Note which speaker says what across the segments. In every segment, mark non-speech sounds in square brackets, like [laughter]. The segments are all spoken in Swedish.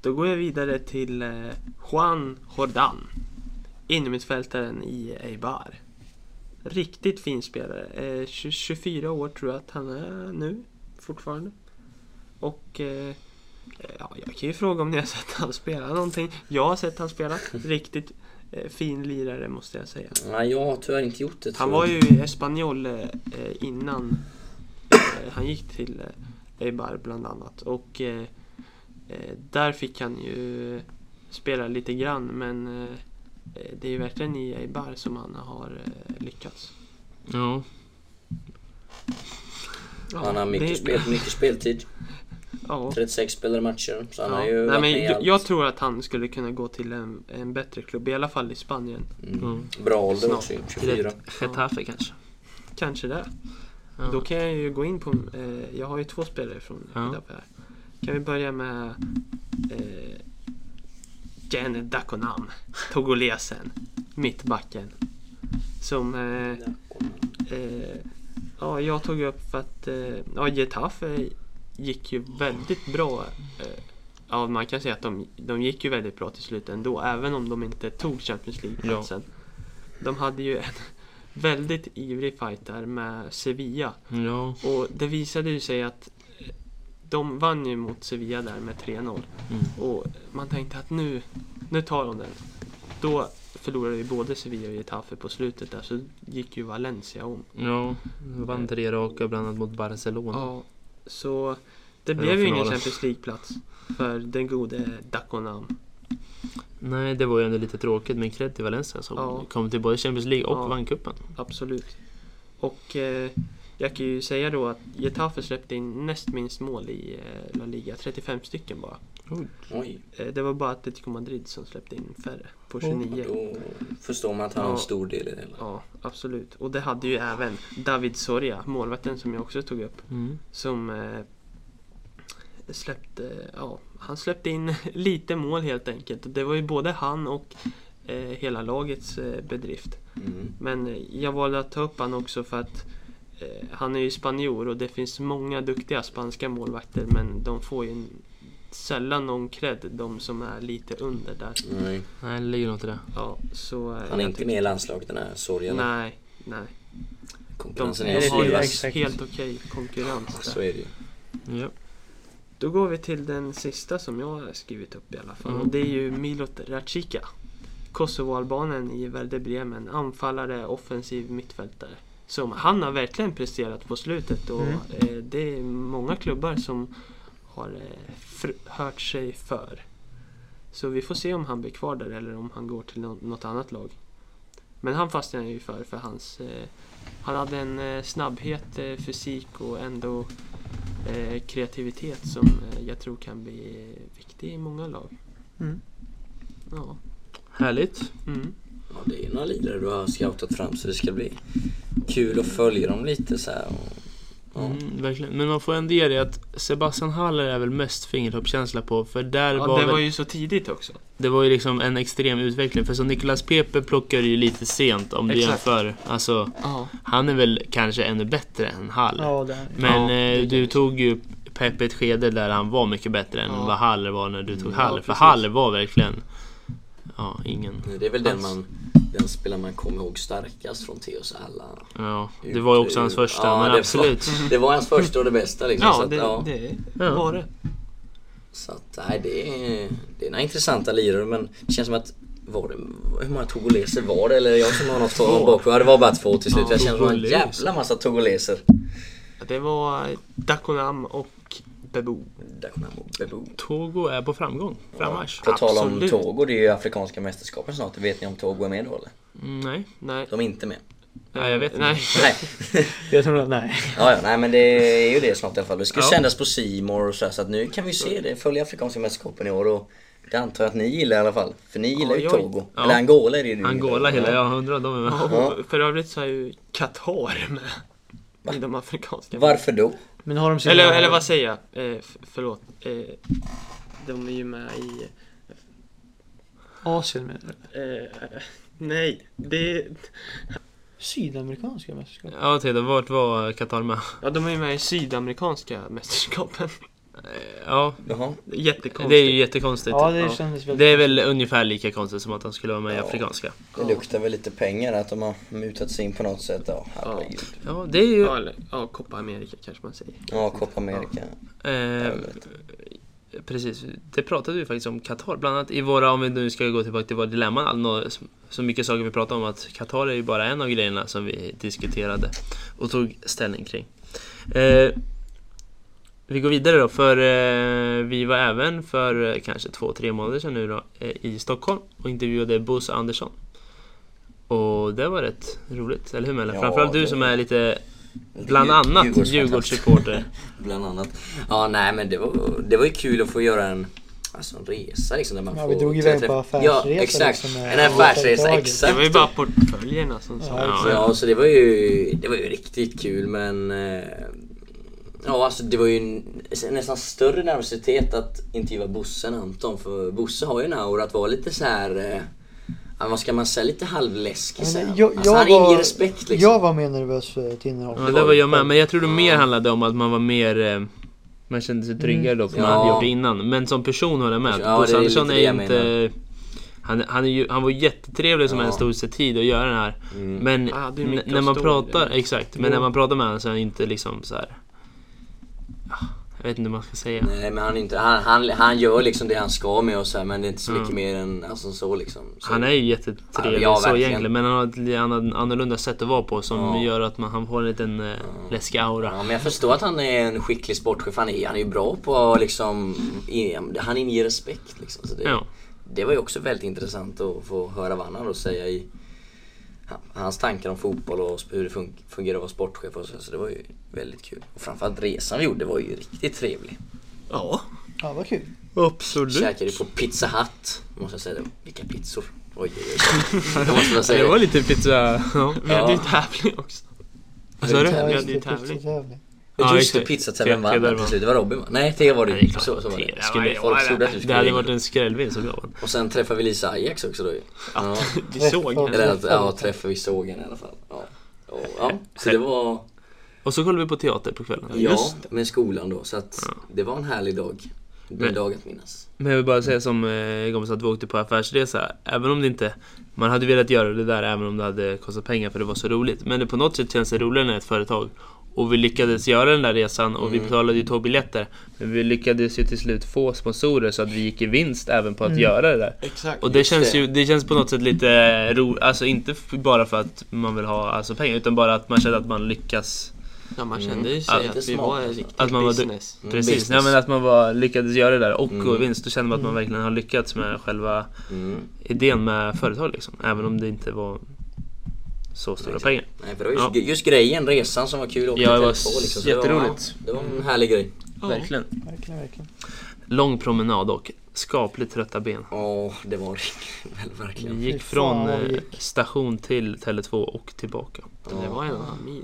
Speaker 1: Då går jag vidare till eh, Juan Jordan. Innermittfältaren i Eibar. Riktigt fin spelare. Eh, 20 24 år tror jag att han är nu fortfarande. Och eh, ja, jag kan ju fråga om ni har sett han spela någonting. Jag har sett han spela. Riktigt eh, fin lirare måste jag säga.
Speaker 2: Nej, jag har tyvärr inte gjort det.
Speaker 1: Han
Speaker 2: tror
Speaker 1: var
Speaker 2: jag.
Speaker 1: ju i Espanyol eh, eh, innan eh, han gick till eh, Eibar bland annat. Och eh, eh, där fick han ju spela lite grann men eh, eh, det är ju verkligen i Eibar som han har eh, lyckats.
Speaker 3: Ja.
Speaker 1: Ja,
Speaker 2: Han har mycket,
Speaker 1: det-
Speaker 2: spel, mycket speltid.
Speaker 1: Ja.
Speaker 2: 36 spelade matcher. Så han
Speaker 1: Ja.
Speaker 2: har ju
Speaker 1: Nej,
Speaker 2: varit
Speaker 1: men
Speaker 2: med i
Speaker 1: jag,
Speaker 2: allt.
Speaker 1: jag tror att han skulle kunna gå till en, en bättre klubb, i alla fall i Spanien.
Speaker 2: Mm.
Speaker 3: Mm.
Speaker 2: Bra ålder
Speaker 1: Snart.
Speaker 2: också, ju, 24.
Speaker 3: Rätt Getafe kanske.
Speaker 1: Kanske det.
Speaker 3: Ja.
Speaker 1: Då kan jag ju gå in på... Eh, jag har ju två spelare från
Speaker 3: Ja.
Speaker 1: Idapa här. Kan vi börja med... Eh, Jan Dakonam, togolesen, mittbacken. Som... Eh, eh, ja, jag tog upp för att... Eh, ja, Getafe gick ju väldigt bra. Eh, ja, man kan säga att de, de gick ju väldigt bra till slut ändå, även om de inte tog Champions League-platsen. De hade ju en väldigt ivrig fight där med Sevilla.
Speaker 3: Ja.
Speaker 1: Och det visade ju sig att de vann ju mot Sevilla där med 3-0.
Speaker 3: Mm.
Speaker 1: Och man tänkte att nu, nu tar de den. Då förlorade ju både Sevilla och Getafe på slutet där, så gick ju Valencia om.
Speaker 3: Ja. Vann tre raka bland annat mot Barcelona.
Speaker 1: Ja, så det
Speaker 3: var
Speaker 1: blev ju ingen
Speaker 3: finalen.
Speaker 1: Champions League-plats för den gode Dakonam.
Speaker 3: Nej, det var ju ändå lite tråkigt men cred till Valencia som
Speaker 1: Ja.
Speaker 3: kom till både Champions League och
Speaker 1: Ja.
Speaker 3: vann cupen.
Speaker 1: Absolut. Och eh, jag kan ju säga då att Getafe släppte in näst minst mål i eh, La Liga, 35 stycken bara.
Speaker 2: Oj,
Speaker 1: Eh, det var bara Atletico Madrid som släppte in färre, på
Speaker 3: Oh,
Speaker 1: 29.
Speaker 2: då förstår man att han har en
Speaker 1: Ja.
Speaker 2: stor del i det.
Speaker 1: Ja, absolut. Och det hade ju även David Soria, målvakten som jag också tog upp,
Speaker 3: Mm.
Speaker 1: som eh, släppte, ja, han släppte in [laughs] lite mål helt enkelt. Det var ju både han och eh, hela lagets eh, bedrift.
Speaker 2: Mm.
Speaker 1: Men eh, jag valde att ta upp han också för att eh, han är ju spanjor och det finns många duktiga spanska målvakter men de får ju sällan någon cred, de som är lite under där.
Speaker 2: Nej.
Speaker 3: Nej, det ligger något i det.
Speaker 1: Ja, så, eh,
Speaker 2: Han är
Speaker 1: jag
Speaker 2: inte med i landslaget den här sorgen.
Speaker 1: Nej, nej. De,
Speaker 2: Konkurrensen är
Speaker 1: de har ju
Speaker 2: stor.
Speaker 4: exakt.
Speaker 1: helt okej konkurrens
Speaker 2: Så
Speaker 1: där.
Speaker 2: är det ju.
Speaker 3: Ja.
Speaker 1: Då går vi till den sista som jag har skrivit upp i alla fall.
Speaker 3: Mm.
Speaker 1: Och det är ju Milot Racica. Kosovoalbanen i Werder Bremen. Anfallare, offensiv mittfältare. Som han har verkligen presterat på slutet och
Speaker 4: Mm.
Speaker 1: eh, det är många klubbar som har eh, fr- hört sig för. Så vi får se om han blir kvar där eller om han går till nå- något annat lag. Men han fastnade jag ju för, för hans... Eh, han hade en eh, snabbhet, eh, fysik och ändå eh, kreativitet som eh, jag tror kan bli viktig i många lag.
Speaker 4: Mm.
Speaker 1: Ja.
Speaker 3: Härligt.
Speaker 1: Mm.
Speaker 2: Ja, det är några lirare du har scoutat fram så det ska bli kul att följa dem lite så här. Och, ja.
Speaker 3: Mm, verkligen. Men man får ändå ge det att Sebastian Haller är väl mest fingertoppskänsla på för där
Speaker 1: Ja,
Speaker 3: var,
Speaker 1: det
Speaker 3: väl,
Speaker 1: var ju så tidigt också.
Speaker 3: det var ju liksom en extrem utveckling för som Nicolas Pepe plockar ju lite sent om du
Speaker 1: Exakt.
Speaker 3: jämför. Alltså,
Speaker 1: Ja.
Speaker 3: han är väl kanske ännu bättre än Hall.
Speaker 4: Ja, det är
Speaker 3: Men
Speaker 1: Ja,
Speaker 3: eh,
Speaker 1: det
Speaker 3: du
Speaker 1: kan-
Speaker 3: tog ju Pepe ett skede där han var mycket bättre än
Speaker 1: Ja.
Speaker 3: vad Haller var när du tog
Speaker 2: Ja,
Speaker 3: Haller. för
Speaker 1: precis.
Speaker 3: Haller var verkligen... Ja, ingen...
Speaker 2: Det är väl den,
Speaker 3: Hans-
Speaker 2: man, den spelare man kommer ihåg starkast från Theos alla.
Speaker 3: Ja, det var ju också hans första,
Speaker 2: Ja, det
Speaker 3: men
Speaker 2: var-
Speaker 3: absolut.
Speaker 2: Det var hans första och det bästa liksom. så
Speaker 1: Ja,
Speaker 2: att,
Speaker 1: det,
Speaker 2: ja.
Speaker 1: det
Speaker 3: Ja.
Speaker 1: var det.
Speaker 2: Så att, nej, det är, det är några intressanta lirare men det känns som att var det, hur många togoleser var det? Eller jag som har något
Speaker 1: Två.
Speaker 2: om bakom. Ja, det var bara två till slut.
Speaker 1: Ja,
Speaker 2: jag känner som en
Speaker 3: togoleser.
Speaker 2: jävla massa togoleser.
Speaker 1: Det var Dakonam och Bebo.
Speaker 2: Dakonamo Bebo.
Speaker 3: Togo är på framgång. Frammarsch.
Speaker 2: På tal om
Speaker 1: Absolut.
Speaker 2: Togo, det är ju Afrikanska mästerskapen snart. Vet ni om Togo är med då eller?
Speaker 3: Mm, nej.
Speaker 1: Nej,
Speaker 2: De är inte med.
Speaker 3: Ja, jag vet
Speaker 1: Nej.
Speaker 2: Nej,
Speaker 4: Jag tror att, nej.
Speaker 2: ja, ja, nej men det är ju det snart i alla fall. Det ska ju
Speaker 3: Ja.
Speaker 2: sändas på C More och sådär, så att nu kan vi se det. Följa Afrikanska mästerskapen i år och det antar jag att ni gillar i alla fall. För ni gillar ju
Speaker 1: jag-
Speaker 2: Togo.
Speaker 3: ja.
Speaker 2: Eller Angola är det ju du gillar.
Speaker 3: Angola hela, jag undrar om de är med.
Speaker 1: Ja, och
Speaker 2: Ja.
Speaker 1: För övrigt så är ju Qatar med i de afrikanska.
Speaker 2: Varför då?
Speaker 4: Men har de sina...
Speaker 1: Eller, eller vad säger jag? Eh, f- förlåt. Eh, de är ju med i...
Speaker 4: Asien menar du?
Speaker 1: Eh, nej, det...
Speaker 4: Sydamerikanska mästerskap?
Speaker 3: Ja, Teda, vart var Qatar med?
Speaker 1: Ja, de är ju med i Sydamerikanska mästerskapen.
Speaker 3: Ja,
Speaker 2: Jaha.
Speaker 1: Jättekonstigt.
Speaker 3: det är ju jättekonstigt.
Speaker 4: Ja, det
Speaker 3: Ja.
Speaker 4: kändes väldigt...
Speaker 3: Det är väl ungefär lika konstigt som att han skulle vara med i
Speaker 2: Ja.
Speaker 3: Afrikanska.
Speaker 2: Det luktar väl lite pengar att de har mutat sig in på något sätt. Ja, herregud.
Speaker 3: Ja, det är ju...
Speaker 1: Ja, eller, ja, Copa America kanske man säger.
Speaker 2: Ja, Copa America.
Speaker 3: Eh, precis, det pratade vi faktiskt om Qatar. Bland annat i våra, om vi nu ska gå tillbaka till våra dilemman, all- nå- så mycket saker vi pratade om att Qatar är ju bara en av grejerna som vi diskuterade och tog ställning kring. Eh, vi går vidare då, för eh, vi var även för eh, kanske två, tre månader sedan nu då eh, i Stockholm och intervjuade Bosse Andersson. Och det var rätt roligt, eller hur Melle?
Speaker 2: Ja,
Speaker 3: Framförallt du
Speaker 2: det-
Speaker 3: som är lite, bland
Speaker 2: Djur-
Speaker 3: annat,
Speaker 2: Djurgårdsfantast.
Speaker 3: Djurgårdssupporter.
Speaker 2: Bland annat. Ja, nej men det var, det var ju kul att få göra en, alltså en resa liksom. Där man
Speaker 4: Ja,
Speaker 2: får
Speaker 4: vi drog iväg
Speaker 2: träffa-
Speaker 4: på affärsresa
Speaker 2: Ja, exakt.
Speaker 4: liksom,
Speaker 2: en
Speaker 4: eh,
Speaker 2: affärsresa,
Speaker 4: företaget.
Speaker 1: Det
Speaker 2: exakt.
Speaker 1: var ju bara portföljerna som sa.
Speaker 4: Ja,
Speaker 1: Ja,
Speaker 4: exakt.
Speaker 2: Ja, så det var ju, det var ju riktigt kul men... eh, Ja, alltså det var ju en- nästan större nervositet att intervjua Bosse än Anton för Bosse har ju en aura att vara lite så här... eh, ja, Vad ska man säga? Lite halvläskig så
Speaker 4: Men
Speaker 2: här.
Speaker 4: jag,
Speaker 2: alltså,
Speaker 4: jag
Speaker 2: han
Speaker 4: var-
Speaker 2: inger respekt liksom.
Speaker 4: Jag var mer nervös för Tinnerholm.
Speaker 3: Ja, det var jag med. Men jag tror det mer handlade om att man var mer... eh, Man kände sig tryggare då för man
Speaker 2: Mm. Ja.
Speaker 3: hade gjort det innan. Men som person håller jag med.
Speaker 2: Ja, det
Speaker 3: Bosse
Speaker 2: är
Speaker 3: Andersson är
Speaker 2: lite det
Speaker 3: ju
Speaker 2: jag
Speaker 3: inte... Han, han, är ju, han var jättetrevlig som
Speaker 2: Ja. Mm.
Speaker 3: ens tog sig tid att göra den här. Men
Speaker 1: Ah, det är
Speaker 3: n-
Speaker 1: mycket
Speaker 3: när
Speaker 1: att
Speaker 3: man
Speaker 1: stå i
Speaker 3: pratar,
Speaker 1: det.
Speaker 3: exakt. Men när man pratar med honom så är han inte liksom så här. Ja, Jag vet inte vad man ska säga.
Speaker 2: Nej men han, är inte, han, han, han gör liksom det han ska med och så här, men det är inte så mycket mer än alltså, så liksom. Så,
Speaker 3: Mm. Han är ju jättetrevlig
Speaker 2: Ja,
Speaker 3: så
Speaker 2: verkligen.
Speaker 3: egentligen. Men han har ett li- han har en annorlunda sätt att vara på som
Speaker 2: Ja.
Speaker 3: gör att man, han får en liten eh, läskig aura.
Speaker 2: Ja men jag förstår att han är en skicklig sportchef. Han är, han är ju bra på att liksom... i- Han inger respekt liksom. Så det,
Speaker 3: Ja.
Speaker 2: Det var ju också väldigt intressant att få höra vad han hade att säga i ha- hans tankar om fotboll och hur det fun- fungerar att vara sportchef och så, så det var ju väldigt kul. Och framförallt resan vi gjorde var ju riktigt trevlig.
Speaker 1: ja.
Speaker 4: Ja, vad kul.
Speaker 3: Absolut.
Speaker 2: Käkade ju på Pizza Hut, måste jag säga. det. Vilka pizzor! Oj, oj,
Speaker 3: [laughs]
Speaker 2: oj. Jag måste bara säga
Speaker 3: Det var
Speaker 2: det.
Speaker 3: lite pizza... Ja.
Speaker 1: Vi hade ju tävling också.
Speaker 3: Vad sa du?
Speaker 4: Ja,
Speaker 1: vi
Speaker 4: just
Speaker 1: hade ju
Speaker 4: det,
Speaker 1: tävling.
Speaker 4: pizzatävling.
Speaker 3: Ja,
Speaker 2: Just det,
Speaker 3: just det.
Speaker 2: pizzatävlingen
Speaker 3: Thea
Speaker 2: vann där
Speaker 3: där
Speaker 2: till
Speaker 3: vann.
Speaker 2: slut. Det var Robin va? Nej, Thea var det
Speaker 3: Nej, det är
Speaker 2: ju.
Speaker 3: klart.
Speaker 2: Så, så var
Speaker 1: Thea
Speaker 2: det.
Speaker 1: var
Speaker 2: Skulle,
Speaker 1: det.
Speaker 2: folk trodde att du
Speaker 3: Det hade varit
Speaker 2: skulle
Speaker 3: en skrällbild såklart.
Speaker 2: Och sen träffade vi Lisa Ajax också då ju. Ja.
Speaker 1: Vi såg
Speaker 4: Ja.
Speaker 1: henne.
Speaker 2: Eller att- ja, träffade vi såg henne i alla fall. Ja. Och,
Speaker 3: [laughs]
Speaker 2: ja. Så det var...
Speaker 3: Och så kollade vi på teater på kvällen.
Speaker 2: Ja,
Speaker 1: Just
Speaker 2: med skolan då. Så att det var en härlig dag. Det är
Speaker 3: Men-
Speaker 2: en dag att minnas.
Speaker 3: Men jag vill bara säga som eh, Gomes att vi åkte på affärsresa. Även om det inte... Man hade velat göra det där även om det hade kostat pengar för det var så roligt. Men det på något sätt känns det roligare när ett företag. Och vi lyckades göra den där resan och
Speaker 2: Mm.
Speaker 3: vi betalade ju tågbiljetter. Men vi lyckades ju till slut få sponsorer så att vi gick i vinst även på att
Speaker 2: Mm.
Speaker 3: göra det där.
Speaker 1: Exakt.
Speaker 3: Och det
Speaker 2: Just
Speaker 3: känns
Speaker 2: det.
Speaker 3: ju det känns på något sätt lite roligt, alltså inte f- bara för att man vill ha alltså, pengar utan bara att man känner att man lyckas
Speaker 1: Ja, man kände ju sig
Speaker 3: Mm.
Speaker 1: att
Speaker 2: Lite
Speaker 1: vi
Speaker 2: smart,
Speaker 1: var
Speaker 2: alltså.
Speaker 1: riktigt
Speaker 3: Att man var du-
Speaker 1: business.
Speaker 2: Mm,
Speaker 3: Precis,
Speaker 2: business.
Speaker 3: Nej, men att man var, lyckades göra det där och gå i vinst. Då känner man att
Speaker 4: Mm.
Speaker 3: man verkligen har lyckats med själva
Speaker 2: Mm.
Speaker 3: idén med företag. Liksom. Även om det inte var så stora pengar.
Speaker 2: Nej, för det var just,
Speaker 3: Ja.
Speaker 2: just grejen, resan som var kul. att åka
Speaker 3: Ja, det var
Speaker 2: till liksom. Så
Speaker 3: jätteroligt.
Speaker 2: Det var, ja, det var en härlig grej.
Speaker 1: Ja.
Speaker 3: Verkligen.
Speaker 4: Verkligen, verkligen.
Speaker 3: Lång promenad och skapligt trötta ben.
Speaker 2: Ja, det [laughs] var väl
Speaker 3: Vi
Speaker 2: verkligen.
Speaker 3: gick
Speaker 4: Fy
Speaker 3: från
Speaker 4: fan, vad vi
Speaker 3: eh, station till Tele2 och tillbaka.
Speaker 1: Det var en och en halv mil.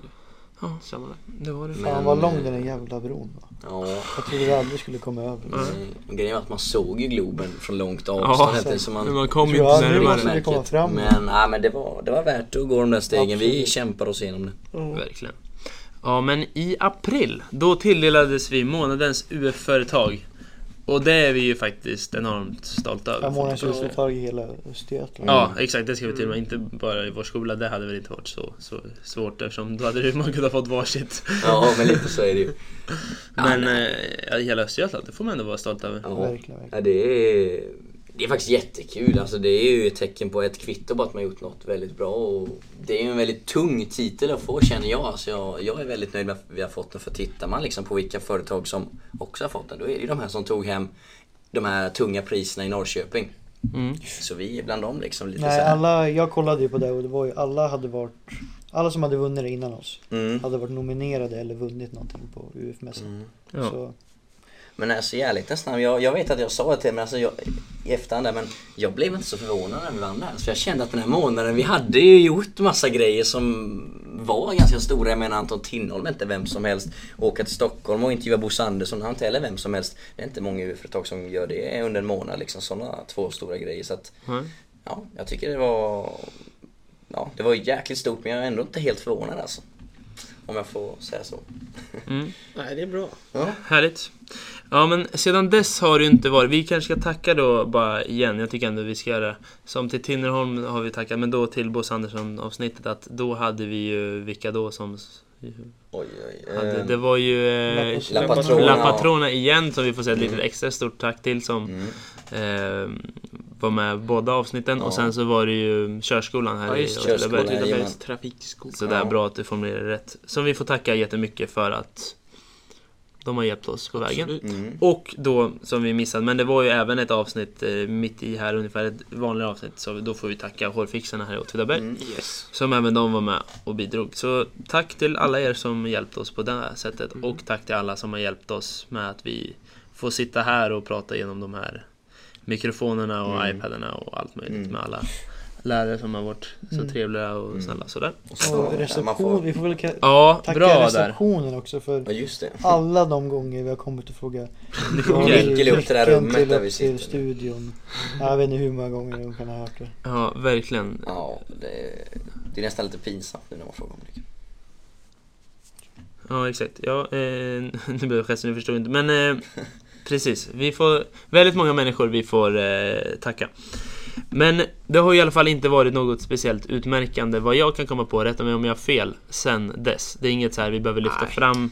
Speaker 3: Ja.
Speaker 1: Sammanlagt.
Speaker 2: Mm.
Speaker 3: Det var det.
Speaker 4: Fan vad lång den där jävla bron var.
Speaker 2: Ja.
Speaker 4: Jag trodde vi aldrig skulle komma över. Jag
Speaker 2: Mm. Och Grejen var att man såg ju Globen från långt
Speaker 3: Ja.
Speaker 2: avstånd. Ja, så man,
Speaker 3: Men man kom
Speaker 4: tror
Speaker 3: inte
Speaker 4: jag aldrig vi
Speaker 3: närmare.
Speaker 4: skulle komma fram.
Speaker 2: Men, ja, men det, var, det var värt att gå de där stegen. Vi
Speaker 4: Absolut.
Speaker 2: kämpar oss igenom det.
Speaker 3: Verkligen. Ja, men i april, då tilldelades vi månadens UF-företag. Och det är vi ju faktiskt enormt stolta över.
Speaker 4: Fem månaders
Speaker 3: faktiskt.
Speaker 4: husföretag i hela Östergötland.
Speaker 3: Ja, exakt. Det ska vi till med. Inte bara i vår skola. Det hade väl inte varit så, så svårt eftersom då hade du- [laughs] man kunnat fått varsitt.
Speaker 2: Ja, men lite så är det ju.
Speaker 3: Men eh, hela Östergötland, det får man ändå vara stolt över.
Speaker 2: Ja.
Speaker 4: Verkligen, verkligen.
Speaker 2: Ja, det, är, det är faktiskt jättekul. Alltså, det är ju ett tecken på ett kvitto på att man gjort något väldigt bra. Och det är ju en väldigt tung titel att få känner jag. Alltså, jag. Jag är väldigt nöjd med att vi har fått den. För tittar man liksom på vilka företag som också har fått den, då är det ju de här som tog hem de här tunga priserna i Norrköping. Så vi är bland dem liksom. Lite
Speaker 4: Nej,
Speaker 2: så här.
Speaker 4: alla, jag kollade ju på det och det var ju alla hade varit alla som hade vunnit det innan oss
Speaker 2: Mm.
Speaker 4: hade varit nominerade eller vunnit någonting på UF-mässan.
Speaker 3: Ja.
Speaker 4: Så
Speaker 2: Men alltså i ärlighetens namn, jag, jag vet att jag sa det till er, men alltså jag, i efterhand där, men jag blev inte så förvånad när vi vann det här. För jag kände att den här månaden, vi hade ju gjort massa grejer som var ganska stora. Jag menar Anton Tinnholm är inte vem som helst. Åka till Stockholm och intervjua Bosse Andersson, han är inte heller vem som helst. Det är inte många UF-företag som gör det under en månad liksom. Sådana två stora grejer. Så att,
Speaker 3: Mm.
Speaker 2: ja, jag tycker det var... Ja, det var jäkligt stort men jag är ändå inte helt förvånad alltså. Om jag får säga så.
Speaker 3: Mm.
Speaker 1: Nej, det är bra.
Speaker 2: Ja.
Speaker 3: Härligt. Ja men sedan dess har det ju inte varit, vi kanske ska tacka då bara igen, jag tycker ändå vi ska göra det. Som till Tinnerholm har vi tackat, men då till Bosse Andersson avsnittet att då hade vi ju, vilka då som
Speaker 2: Oj, oj.
Speaker 3: hade,
Speaker 2: ehm,
Speaker 3: det var ju eh,
Speaker 4: Lappas-
Speaker 2: La Patrona.
Speaker 3: La Patrona igen som vi får säga ett litet extra stort tack till som
Speaker 2: Mm.
Speaker 3: eh, var med båda avsnitten och
Speaker 2: Ja.
Speaker 3: sen så var det ju körskolan här
Speaker 1: Ja,
Speaker 3: i
Speaker 1: just
Speaker 2: körskolan.
Speaker 3: Åtvidaberg.
Speaker 2: Jajamän.
Speaker 1: Åtvidabergs trafikskola.
Speaker 3: Sådär
Speaker 2: Ja.
Speaker 3: bra att du formulerade rätt. Som vi får tacka jättemycket för att de har hjälpt oss på vägen.
Speaker 1: Absolut.
Speaker 2: Mm.
Speaker 3: Och då, som vi missade, men det var ju även ett avsnitt eh, mitt i här, ungefär ett vanligt avsnitt. Så då får vi tacka hårfixarna här i Åtvidaberg.
Speaker 2: Mm.
Speaker 1: Yes.
Speaker 3: Som även de var med och bidrog. Så tack till alla er som hjälpte oss på det här sättet.
Speaker 1: Mm.
Speaker 3: Och tack till alla som har hjälpt oss med att vi får sitta här och prata genom de här mikrofonerna och
Speaker 2: Mm.
Speaker 3: iPadarna och allt möjligt
Speaker 2: Mm.
Speaker 3: med alla lärare som har varit så
Speaker 4: Mm.
Speaker 3: trevliga och
Speaker 2: Mm.
Speaker 3: snälla. Sådär.
Speaker 4: Och
Speaker 2: Ja, man
Speaker 4: reception,
Speaker 2: får...
Speaker 4: vi får väl ka-
Speaker 3: Ja,
Speaker 4: tacka
Speaker 3: bra där.
Speaker 4: receptionen också för
Speaker 2: Ja, just det.
Speaker 4: alla de gånger vi har kommit och
Speaker 2: [laughs]
Speaker 4: frågat.
Speaker 3: Nyckel.
Speaker 4: "Var är
Speaker 2: Nyckel upp till det här
Speaker 4: nyckeln
Speaker 2: rummet
Speaker 4: till
Speaker 2: där
Speaker 4: upp
Speaker 2: vi sitter
Speaker 4: till studion. Jag vet inte hur många gånger de kan ha hört det.
Speaker 3: Ja, verkligen.
Speaker 2: Ja, det, det är nästan lite pinsamt nu när man frågar om det.
Speaker 3: Ja, exakt. Ja, eh, [laughs] nu blev jag gesten, nu förstår jag inte. Men eh, precis, vi får väldigt många människor vi får eh, tacka. Men det har i alla fall inte varit något speciellt utmärkande vad jag kan komma på, rätta mig om jag har fel, sen dess. Det är inget så här vi behöver lyfta
Speaker 1: Nej.
Speaker 3: fram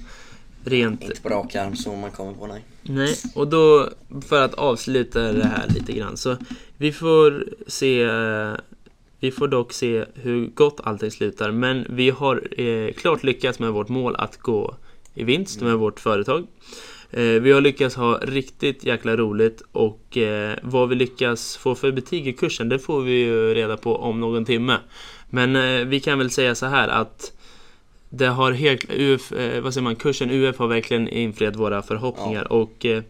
Speaker 3: rent
Speaker 2: Inte på rak arm som man kommer på, nej.
Speaker 3: Nej, och då för att avsluta det här lite grann så vi får se eh, vi får dock se hur gott allting slutar men vi har eh, klart lyckats med vårt mål att gå i vinst med vårt företag. Eh, vi har lyckats ha riktigt jäkla roligt och eh, vad vi lyckas få för betyg i kursen det får vi ju reda på om någon timme. Men eh, vi kan väl säga så här att det har helt, UF, eh, vad säger man, kursen UF har verkligen infriat våra förhoppningar och eh,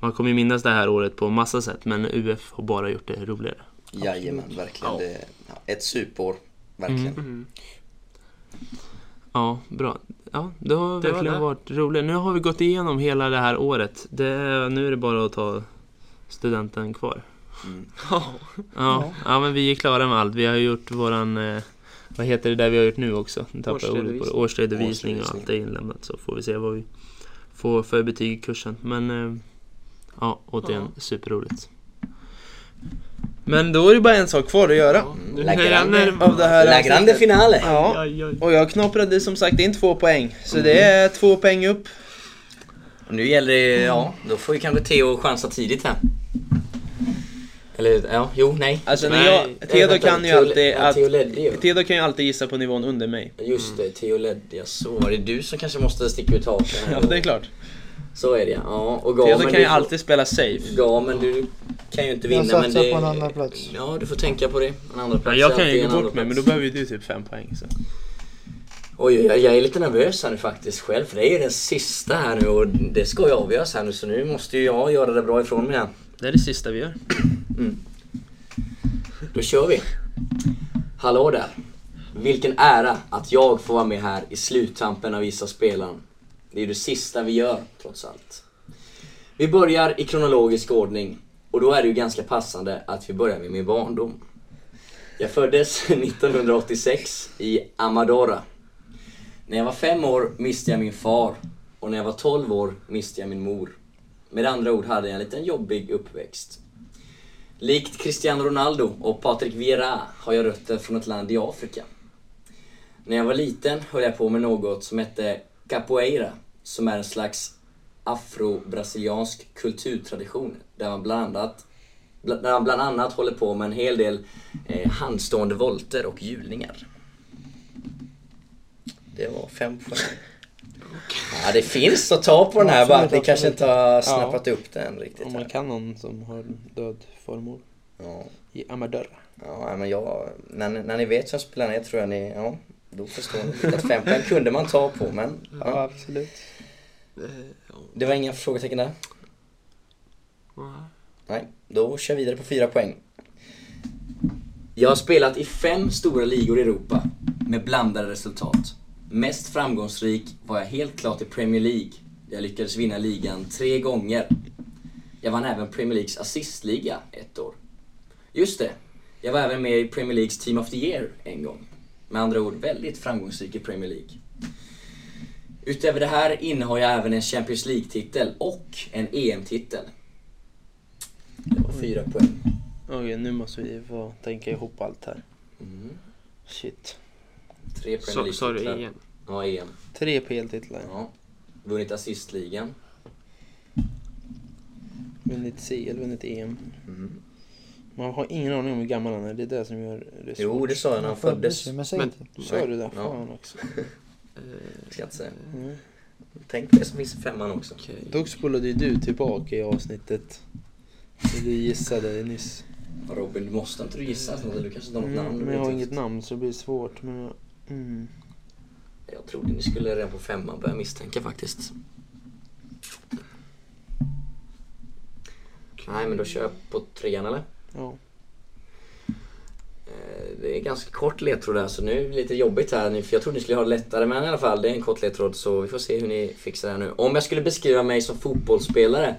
Speaker 3: man kommer ju minnas det här året på massa sätt men UF har bara gjort det roligare.
Speaker 2: Jajamän, verkligen.
Speaker 3: Ja.
Speaker 2: Det, ja, ett superår, verkligen.
Speaker 1: Mm.
Speaker 3: Ja, bra. Ja, det har
Speaker 1: Det var
Speaker 3: verkligen
Speaker 1: det.
Speaker 3: varit roligt. Nu har vi gått igenom hela det här året. Det, är- nu är det bara att ta studenten kvar.
Speaker 2: Mm.
Speaker 1: Ja.
Speaker 3: Ja, ja, men vi är klara med allt. Vi har gjort våran, eh, vad heter det där vi har gjort nu också? Nu tappar jag ordet på det.
Speaker 1: Årsredovisning.
Speaker 3: Årsredovisning och
Speaker 2: Årsredovisning.
Speaker 3: allt är inlämnat så får vi se vad vi får för betyg i kursen. Men eh, ja, återigen superroligt. Men då är det bara en sak kvar att göra.
Speaker 1: Nu
Speaker 2: La
Speaker 1: är jag
Speaker 2: grande.
Speaker 1: närmare.
Speaker 3: Av det här
Speaker 2: La grande
Speaker 3: avsnittet.
Speaker 2: finale!
Speaker 3: Ja,
Speaker 1: Aj, aj.
Speaker 3: och jag knaprade som sagt in två poäng. Så
Speaker 2: Mm.
Speaker 3: det är två poäng upp.
Speaker 2: Och nu gäller det, ja, då får ju kanske Theo chansa tidigt här. Eller, ja, jo, nej.
Speaker 3: Alltså när
Speaker 1: Nej,
Speaker 3: jag, Theodor kan ju alltid
Speaker 2: Ja,
Speaker 3: att,
Speaker 2: Theo ledde ju.
Speaker 3: Theodor kan ju alltid gissa på nivån under mig.
Speaker 2: Just det, Theo ledde, jag så var det du som kanske måste sticka ut hakan.
Speaker 3: Ja, det är klart.
Speaker 2: Så är det ja. Och Gamen,
Speaker 3: Theodor kan ju alltid spela safe.
Speaker 2: Ja, men du kan ju inte
Speaker 4: Jag
Speaker 2: vinna. men
Speaker 4: satsar
Speaker 2: det...
Speaker 4: på en annan plats.
Speaker 2: Ja, du får tänka på det. En andra
Speaker 3: Ja,
Speaker 2: plats är
Speaker 3: jag kan
Speaker 2: alltid
Speaker 3: ju
Speaker 2: en
Speaker 3: gå
Speaker 2: andra
Speaker 3: bort mig, men
Speaker 2: plats.
Speaker 3: då behöver ju du typ fem poäng. Så.
Speaker 2: Oj, jag, jag är lite nervös här nu faktiskt själv, för det är ju den sista här nu och det ska ju avgöras här nu, så nu måste ju jag göra det bra ifrån mig här.
Speaker 3: Det är det sista vi gör.
Speaker 2: Då kör vi. Hallå där. Vilken ära att jag får vara med här i sluttampen av Visa spelaren. Det är det sista vi gör, trots allt. Vi börjar i kronologisk ordning och då är det ju ganska passande att vi börjar med min barndom. Jag föddes [laughs] 1986 i Amadora. När jag var fem år miste jag min far och när jag var 12 år miste jag min mor. Med andra ord hade jag en liten jobbig uppväxt. Likt Cristiano Ronaldo och Patrick Vieira har jag rötter från ett land i Afrika. När jag var liten höll jag på med något som hette capoeira, som är en slags afro-brasiliansk kulturtradition där man bland annat, bla- där man bland annat håller på med en hel del eh, handstående volter och hjulningar. Det var fem poäng. Ja, det finns att ta på den här bara att vi kanske inte har snappat upp den riktigt.
Speaker 3: [laughs] Om
Speaker 2: här.
Speaker 3: man kan någon som har död förmål
Speaker 2: Ja.
Speaker 3: i Amadora.
Speaker 2: Ja, men jag... När, ni- när ni vet vem spelaren är tror jag ni... Ja, då förstår ni. Att fem poäng kunde man ta på, men... Ja,
Speaker 3: absolut.
Speaker 2: det var inga frågetecken där.
Speaker 1: Ja.
Speaker 2: Nej, då kör vi vidare på fyra poäng. Jag har spelat i fem stora ligor i Europa med blandade resultat. Mest framgångsrik var jag helt klart i Premier League där jag lyckades vinna ligan tre gånger. Jag vann även Premier Leagues assistliga ett år. Just det, jag var även med i Premier Leagues Team of the Year en gång. Med andra ord väldigt framgångsrik i Premier League. Utöver det här innehar jag även en Champions League-titel och en EM-titel. Det var fyra poäng.
Speaker 3: Okej, nu måste vi få tänka ihop allt här.
Speaker 2: Mm.
Speaker 3: Shit.
Speaker 2: Tre Premier
Speaker 1: Så- Sa du
Speaker 2: League-titlar.
Speaker 1: igen?
Speaker 2: Ja, EM.
Speaker 3: Tre PL-titlar.
Speaker 2: Ja. Vunnit assistligan.
Speaker 3: Vunnit CL, vunnit EM.
Speaker 2: Mm.
Speaker 3: Man har ingen aning om hur gammal han är. Det är det som gör det svårt.
Speaker 2: Jo, det sa jag när han föddes.
Speaker 4: ju, Men säg
Speaker 1: Men-
Speaker 4: inte.
Speaker 3: Sa du det?
Speaker 2: Ja.
Speaker 3: Fan också.
Speaker 2: Ska jag inte säga.
Speaker 3: Mm.
Speaker 2: Tänk på det som finns i femman också.
Speaker 1: Okej.
Speaker 3: Dock spolade ju du tillbaka i avsnittet. Så du gissade nyss.
Speaker 2: Robin, du måste inte du gissa? Alltså, du kanske inte har något
Speaker 3: Mm,
Speaker 2: namn?
Speaker 3: men jag har
Speaker 2: vet
Speaker 3: inget
Speaker 2: inte.
Speaker 3: namn så det blir svårt. Men jag... mm.
Speaker 2: Jag trodde ni skulle redan på femman börja misstänka faktiskt. Nej, men då kör jag på trean eller?
Speaker 3: Ja.
Speaker 2: Eh, Det är ganska kort ledtråd där så nu är det lite jobbigt här nu, för jag trodde ni skulle ha det lättare men i alla fall det är en kort ledtråd så vi får se hur ni fixar det här nu. Om jag skulle beskriva mig som fotbollsspelare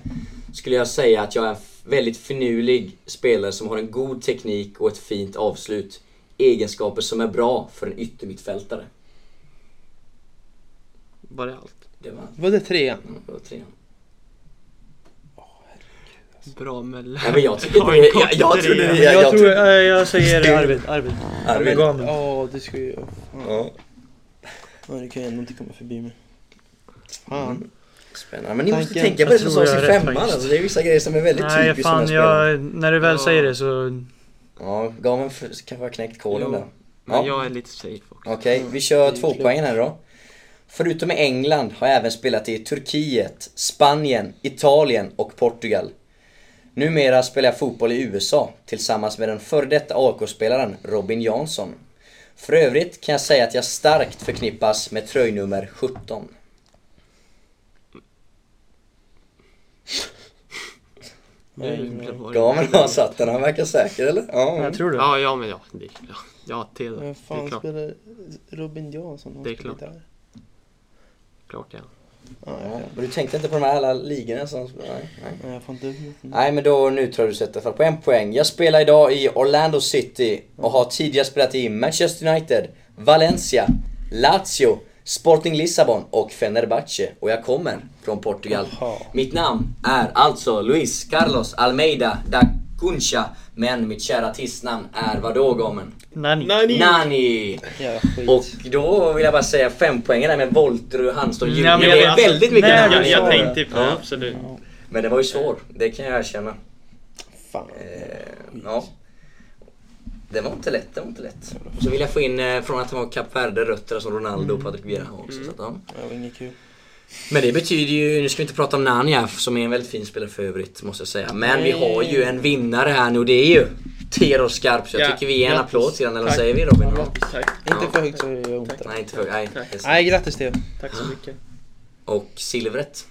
Speaker 2: skulle jag säga att jag är en f- väldigt finurlig spelare som har en god teknik och ett fint avslut. Egenskaper som är bra för en yttermittfältare.
Speaker 1: Var det allt?
Speaker 2: Det var,
Speaker 3: Var det trean?
Speaker 2: mm, det var trean.
Speaker 1: Bra Mölle.
Speaker 2: Nej men
Speaker 1: [laughs]
Speaker 2: jag tycker
Speaker 1: Har
Speaker 2: inte...
Speaker 1: en
Speaker 2: Jag,
Speaker 1: kort
Speaker 2: jag, jag trodde...
Speaker 1: trea.
Speaker 2: Jag,
Speaker 4: Jag,
Speaker 2: jag
Speaker 4: tror
Speaker 2: trodde...
Speaker 4: jag, jag säger Arvid. Arvid.
Speaker 2: Arvid.
Speaker 4: Jag gav mig.
Speaker 3: Ja, det ska ju...
Speaker 2: Ja,
Speaker 3: Ja, det kan ju ändå inte komma förbi mig.
Speaker 2: Mm.
Speaker 3: Fan.
Speaker 2: Spännande. Men ni måste
Speaker 4: Tanken-
Speaker 2: tänka på det som
Speaker 4: jag
Speaker 2: sades
Speaker 4: tror
Speaker 2: i
Speaker 4: jag är
Speaker 2: femman
Speaker 4: rätt
Speaker 2: alltså. Det är vissa grejer som är väldigt
Speaker 4: Nej
Speaker 2: typiskt
Speaker 4: fan,
Speaker 2: som jag...
Speaker 4: jag, när du väl
Speaker 1: Ja.
Speaker 4: säger det så...
Speaker 2: Ja, gav en f- kanske har knäckt koden
Speaker 1: Jo.
Speaker 2: där.
Speaker 1: Men
Speaker 2: Ja.
Speaker 1: jag är lite safe också.
Speaker 2: Okej, vi kör
Speaker 3: Mm,
Speaker 2: två poängen här då. Förutom i England har jag även spelat i Turkiet, Spanien, Italien och Portugal. Numera spelar jag fotboll i USA tillsammans med den före detta AK-spelaren Robin Jansson. För övrigt kan jag säga att jag starkt förknippas med tröjnummer 17.
Speaker 1: Nu var det-
Speaker 2: Gamen har satt den, han verkar säker eller? Ja.
Speaker 4: Jag tror det.
Speaker 1: Ja, ja men ja. Det är klart. Ja, till det.
Speaker 3: Vem
Speaker 1: Det är
Speaker 3: fan
Speaker 1: klart.
Speaker 3: spelar Robin Jansson? Han
Speaker 1: Det är
Speaker 3: spelar
Speaker 1: klart.
Speaker 3: gitarr.
Speaker 1: klart ja.
Speaker 3: Ja, jag
Speaker 2: Ja,
Speaker 3: kan-
Speaker 2: Men du tänkte inte på de här alla ligorna som... Nej, nej.
Speaker 3: Nej, jag får inte upp något.
Speaker 2: Nej men då nu tror jag du sätter i alla fall på en poäng. Jag spelar idag i Orlando City och har tidigare spelat i Manchester United, Valencia, Lazio, Sporting Lissabon och Fenerbahce. Och jag kommer från Portugal.
Speaker 3: Jaha.
Speaker 2: Mitt namn är alltså Luis Carlos Almeida da Cunha. Men mitt kära artistnamn är vadå gommen?
Speaker 4: Nani.
Speaker 2: Nani!
Speaker 3: Jävla skit.
Speaker 2: Och då vill jag bara säga fem poängen där med volter och handstånd.
Speaker 4: Nej, men
Speaker 2: det
Speaker 4: jag
Speaker 2: är
Speaker 1: alltså,
Speaker 4: vet-
Speaker 2: väldigt mycket
Speaker 4: nej,
Speaker 2: namn.
Speaker 4: jag- jag tänkte
Speaker 1: på det, absolut.
Speaker 2: Men det var ju svår, det kan jag erkänna.
Speaker 3: Fan.
Speaker 2: Eh, ja. Det var inte lätt, det var inte lätt. Och så vill jag få in eh, från att han var Kap Verde rötterna som Ronaldo och Patrick Vieira har också. Så att, ja.
Speaker 3: Det var inget kul.
Speaker 2: Men det betyder ju, nu ska vi inte prata om Nania som är en väldigt fin spelare för övrigt måste jag säga. Men vi har ju en vinnare här nu och det är ju Tero Skarp. Så jag
Speaker 1: Ja,
Speaker 2: tycker vi ger en
Speaker 1: grattis.
Speaker 2: applåd till honom, eller vad
Speaker 1: Tack.
Speaker 2: säger vi Robin? Ja.
Speaker 1: Tack,
Speaker 3: Inte för högt så gör jag ont där.
Speaker 2: Nej, inte för nej. det är
Speaker 3: Nej, grattis Theo.
Speaker 1: tack så mycket.
Speaker 2: så. Och silvret,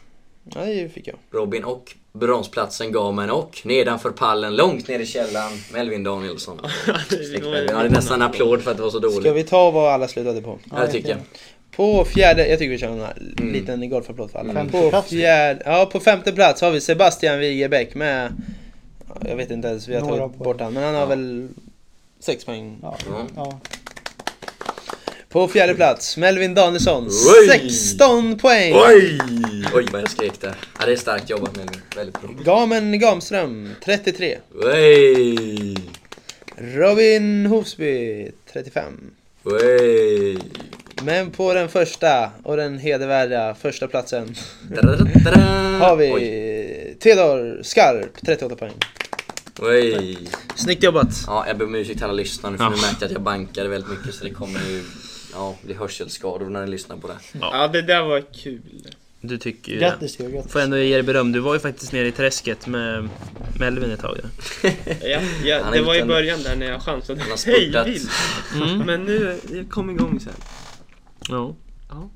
Speaker 3: Ja, det fick jag.
Speaker 2: Robin och bronsplatsen Gamen och nedanför pallen, långt ner i källaren, Melvin Danielsson. Snyggt Melvin. Ja, det är nästan en applåd för att det var så dåligt.
Speaker 3: Ska vi ta vad alla slutade på?
Speaker 2: Ja, det tycker jag.
Speaker 3: På fjärde, jag tycker vi kör en här
Speaker 2: Mm.
Speaker 3: liten golfapplåd för alla.
Speaker 4: Femte
Speaker 3: På,
Speaker 4: plats.
Speaker 3: fjärde, ja, på femte plats har vi Sebastian Wigerbäck med, ja, jag vet inte ens, vi har
Speaker 4: Några
Speaker 3: tagit
Speaker 4: poäng.
Speaker 3: bort han, men han har
Speaker 2: Ja.
Speaker 3: väl sex poäng.
Speaker 4: Ja.
Speaker 2: Ja.
Speaker 4: Ja.
Speaker 3: På fjärde plats, Melvin Danielsson,
Speaker 2: Oj!
Speaker 3: 16 poäng!
Speaker 2: Oj! Oj vad jag skrek där. Ja, det är starkt jobbat Melvin. Väldigt bra.
Speaker 3: Gamen Gamström, 33.
Speaker 2: Oj!
Speaker 3: Robin Hofsby, 35.
Speaker 2: Oj!
Speaker 3: Men på den första och den hedervärda första platsen
Speaker 2: Dadadadada.
Speaker 3: har vi
Speaker 2: Oj.
Speaker 3: Theodor Skarp, 38 poäng.
Speaker 2: Oj!
Speaker 3: Snyggt jobbat!
Speaker 2: Ja, jag ber om ursäkt till alla lyssnare nu, för
Speaker 3: Ja.
Speaker 2: nu märkte jag att jag bankade väldigt mycket så det kommer ju ja, bli hörselskador när ni lyssnar på det.
Speaker 1: Ja, det där var kul.
Speaker 3: Du tycker ju det.
Speaker 4: Grattis Theo, grattis.
Speaker 3: Får ändå ge dig beröm, du var ju faktiskt nere i träsket med Melvin ett tag ju.
Speaker 1: Ja,
Speaker 2: Han
Speaker 1: ja,
Speaker 2: är
Speaker 1: det var i
Speaker 2: liten.
Speaker 1: början där när jag chansade.
Speaker 2: Han har
Speaker 1: Hej
Speaker 2: spurtat. Mm.
Speaker 1: vilt! Men nu, jag kom igång sen.
Speaker 3: Ja.
Speaker 1: Ja.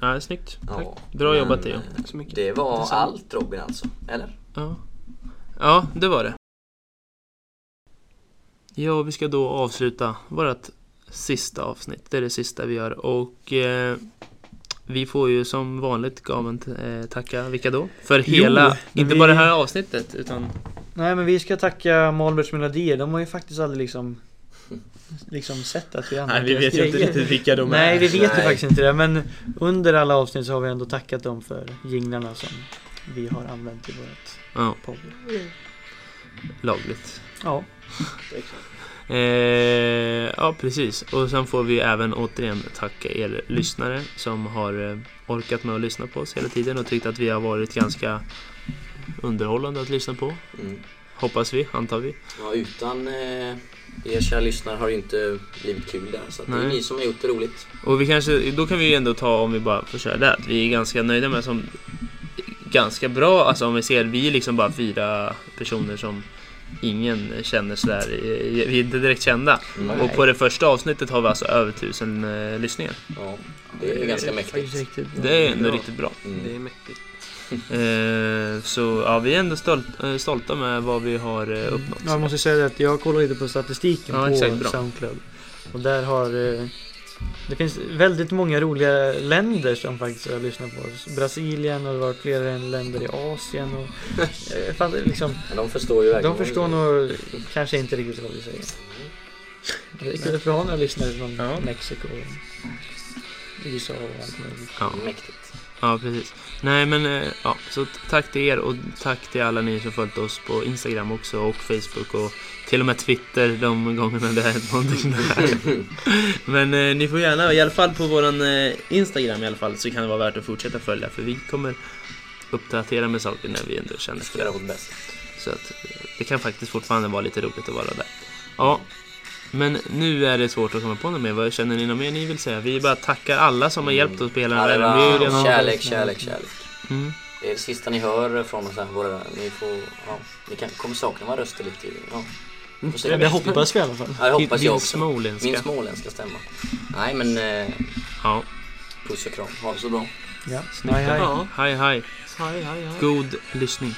Speaker 3: Ja, snyggt.
Speaker 2: Ja,
Speaker 3: Bra
Speaker 2: men,
Speaker 3: jobbat, Theo.
Speaker 1: Tack så mycket.
Speaker 2: Det var
Speaker 1: Detsamma.
Speaker 2: allt Robin alltså, eller?
Speaker 3: Ja. ja, det var det. Ja, vi ska då avsluta vårt sista avsnitt. Det är det sista vi gör och eh, vi får ju som vanligt Gamen eh, tacka, vilka då? För hela,
Speaker 4: men
Speaker 3: inte
Speaker 4: vi-
Speaker 3: bara det här avsnittet utan
Speaker 4: Nej men vi ska tacka Malberts Melodier. De har ju faktiskt aldrig liksom liksom sett att vi
Speaker 3: Nej, vi vet ju inte
Speaker 4: grejer.
Speaker 3: riktigt vilka de
Speaker 4: Nej,
Speaker 3: är.
Speaker 4: vi vet ju
Speaker 2: Nej.
Speaker 4: faktiskt inte det. Men under alla avsnitt så har vi ändå tackat dem för jinglarna som vi har använt i vårt
Speaker 1: Ja,
Speaker 4: podd.
Speaker 1: lagligt.
Speaker 4: Ja,
Speaker 1: Eh, ja, precis. Och sen får vi även återigen tacka er lyssnare som har eh, orkat med att lyssna på oss hela tiden och tyckt att vi har varit ganska underhållande att lyssna på.
Speaker 2: Mm.
Speaker 1: Hoppas vi, antar vi.
Speaker 2: Ja, utan eh, er kära lyssnare har det ju inte blivit kul där. Så att det är
Speaker 1: Nej.
Speaker 2: ni som har gjort det roligt.
Speaker 1: Och vi kanske, då kan vi ju ändå ta, om vi bara får köra det, att vi är ganska nöjda med som ganska bra, alltså om vi ser, vi är liksom bara fyra personer som ingen känner sådär, eh, vi är inte direkt kända.
Speaker 2: Mm.
Speaker 1: Och på det första avsnittet har vi alltså över tusen eh, lyssningar.
Speaker 2: Ja, det är ganska mäktigt.
Speaker 1: Det är ändå
Speaker 5: Bra.
Speaker 1: riktigt bra.
Speaker 5: Det
Speaker 2: Mm.
Speaker 5: är mäktigt.
Speaker 1: Eh, så ja, vi är ändå stolt, eh, stolta med vad vi har eh, uppnått.
Speaker 4: jag måste säga det att jag kollar lite på statistiken
Speaker 1: Ja,
Speaker 4: på
Speaker 1: exakt, bra.
Speaker 4: Soundcloud. Och där har eh, det finns väldigt många roliga länder som faktiskt har lyssnat på oss. Brasilien och det har varit flera länder i Asien. Och, eh, fan, liksom,
Speaker 2: Men de förstår ju verkligen.
Speaker 4: de förstår nog kanske inte riktigt vad vi säger. Det är kul att vi har några lyssnare från
Speaker 1: Ja.
Speaker 4: Mexiko och USA och allt möjligt.
Speaker 1: Ja,
Speaker 2: Mm, Mäktigt.
Speaker 1: ja, precis. Nej, men eh, ja, så t- tack till er och tack till alla ni som följt oss på Instagram också och Facebook och till och med Twitter de gångerna det har hänt någonting där. Men eh, ni får gärna, i alla fall på våran eh, Instagram i alla fall, så kan det vara värt att fortsätta följa för vi kommer uppdatera med saker när vi ändå känner
Speaker 2: Vi
Speaker 1: för
Speaker 2: ska
Speaker 1: det.
Speaker 2: göra vårt bästa.
Speaker 1: Så att eh, det kan faktiskt fortfarande vara lite roligt att vara där. Ja, men nu är det svårt att komma på något mer. Vad känner ni något mer ni vill säga? Vi bara tackar alla som har hjälpt oss på hela den
Speaker 2: Ja,
Speaker 1: här
Speaker 2: det
Speaker 1: resan. Vi är ju redan...
Speaker 2: var kärlek, kärlek, kärlek.
Speaker 1: Mm.
Speaker 2: Det är det sista ni hör från oss här. Våra, ni, får, ja, ni kan, kommer sakna våra röster lite. Ja. Vi får se.
Speaker 4: Mm, Det hoppas vi i alla fall.
Speaker 2: Ja, det hoppas
Speaker 1: Din
Speaker 2: jag också.
Speaker 1: småländska.
Speaker 2: Min småländska stämma. Nej men, eh,
Speaker 1: Ja.
Speaker 2: puss och kram. Ha det så bra.
Speaker 4: Ja. Hej, hej.
Speaker 5: Ja,
Speaker 1: Hej, hej.
Speaker 5: hej hej hej.
Speaker 1: God lyssning.